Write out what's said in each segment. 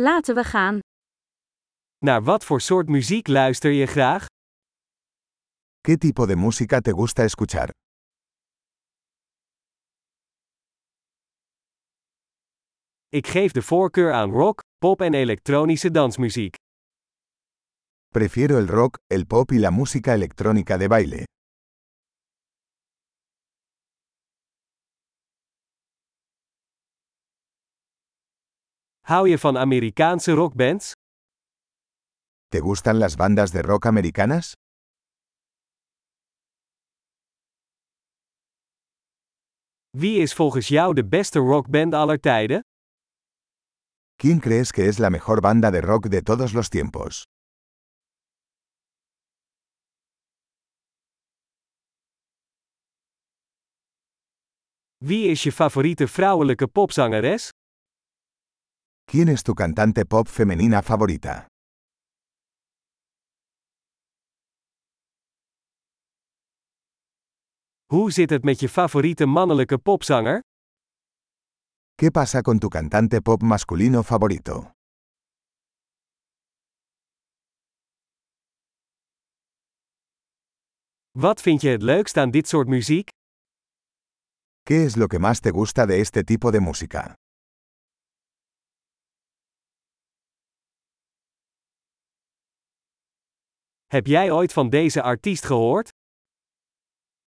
Laten we gaan. Naar wat voor soort muziek luister je graag? ¿Qué tipo de música te gusta escuchar? Ik geef de voorkeur aan rock, pop en elektronische dansmuziek. Prefiero el rock, el pop y la música electrónica de baile. Hou je van Amerikaanse rockbands? ¿Te gustan las bandas de rock americanas? Wie is volgens jou de beste rockband aller tijden? ¿Quién crees que es la mejor banda de rock de todos los tiempos? Wie is je favoriete vrouwelijke popzangeres? ¿Quién es tu cantante pop femenina favorita? Hoe zit het met je favoriete mannelijke popzanger? ¿Qué pasa con tu cantante pop masculino favorito? Wat vind je het leukst aan dit soort muziek? ¿Qué es lo que más te gusta de este tipo de música? Heb jij ooit van deze artiest gehoord?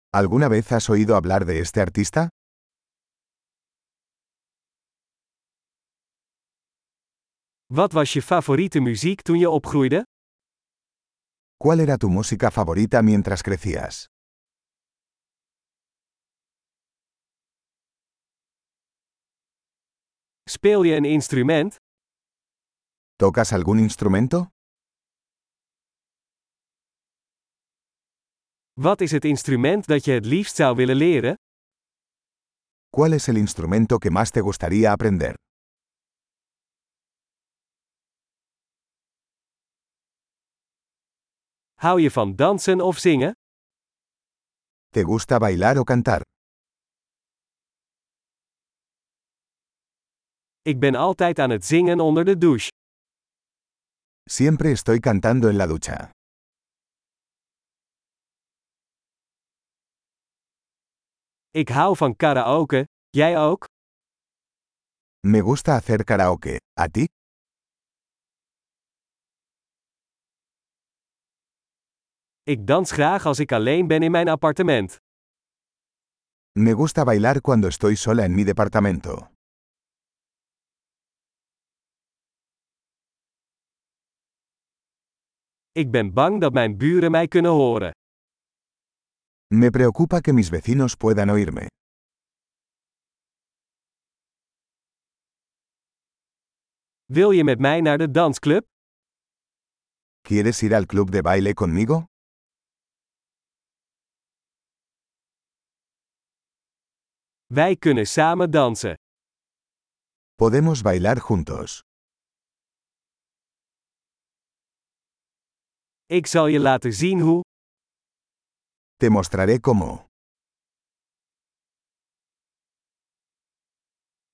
¿Alguna vez has oído hablar de este artista? Wat was je favoriete muziek toen je opgroeide? ¿Cuál era tu música favorita mientras crecías? Speel je een instrument? ¿Tocas algún instrumento? Wat is het instrument dat je het liefst zou willen leren? ¿Cuál es el instrumento que más te gustaría aprender? Hou je van dansen of zingen? ¿Te gusta bailar o cantar? Ik ben altijd aan het zingen onder de douche. Siempre estoy cantando en la ducha. Ik hou van karaoke, jij ook? Me gusta hacer karaoke. ¿A ti? Ik dans graag als ik alleen ben in mijn appartement. Me gusta bailar cuando estoy sola en mi departamento. Ik ben bang dat mijn buren mij kunnen horen. Me preocupa que mis vecinos puedan oírme. Wil je met mij naar de dansclub? ¿Quieres ir al club de baile conmigo? Wij kunnen samen dansen. Podemos bailar juntos. Ik zal je laten zien hoe. Te mostraré cómo.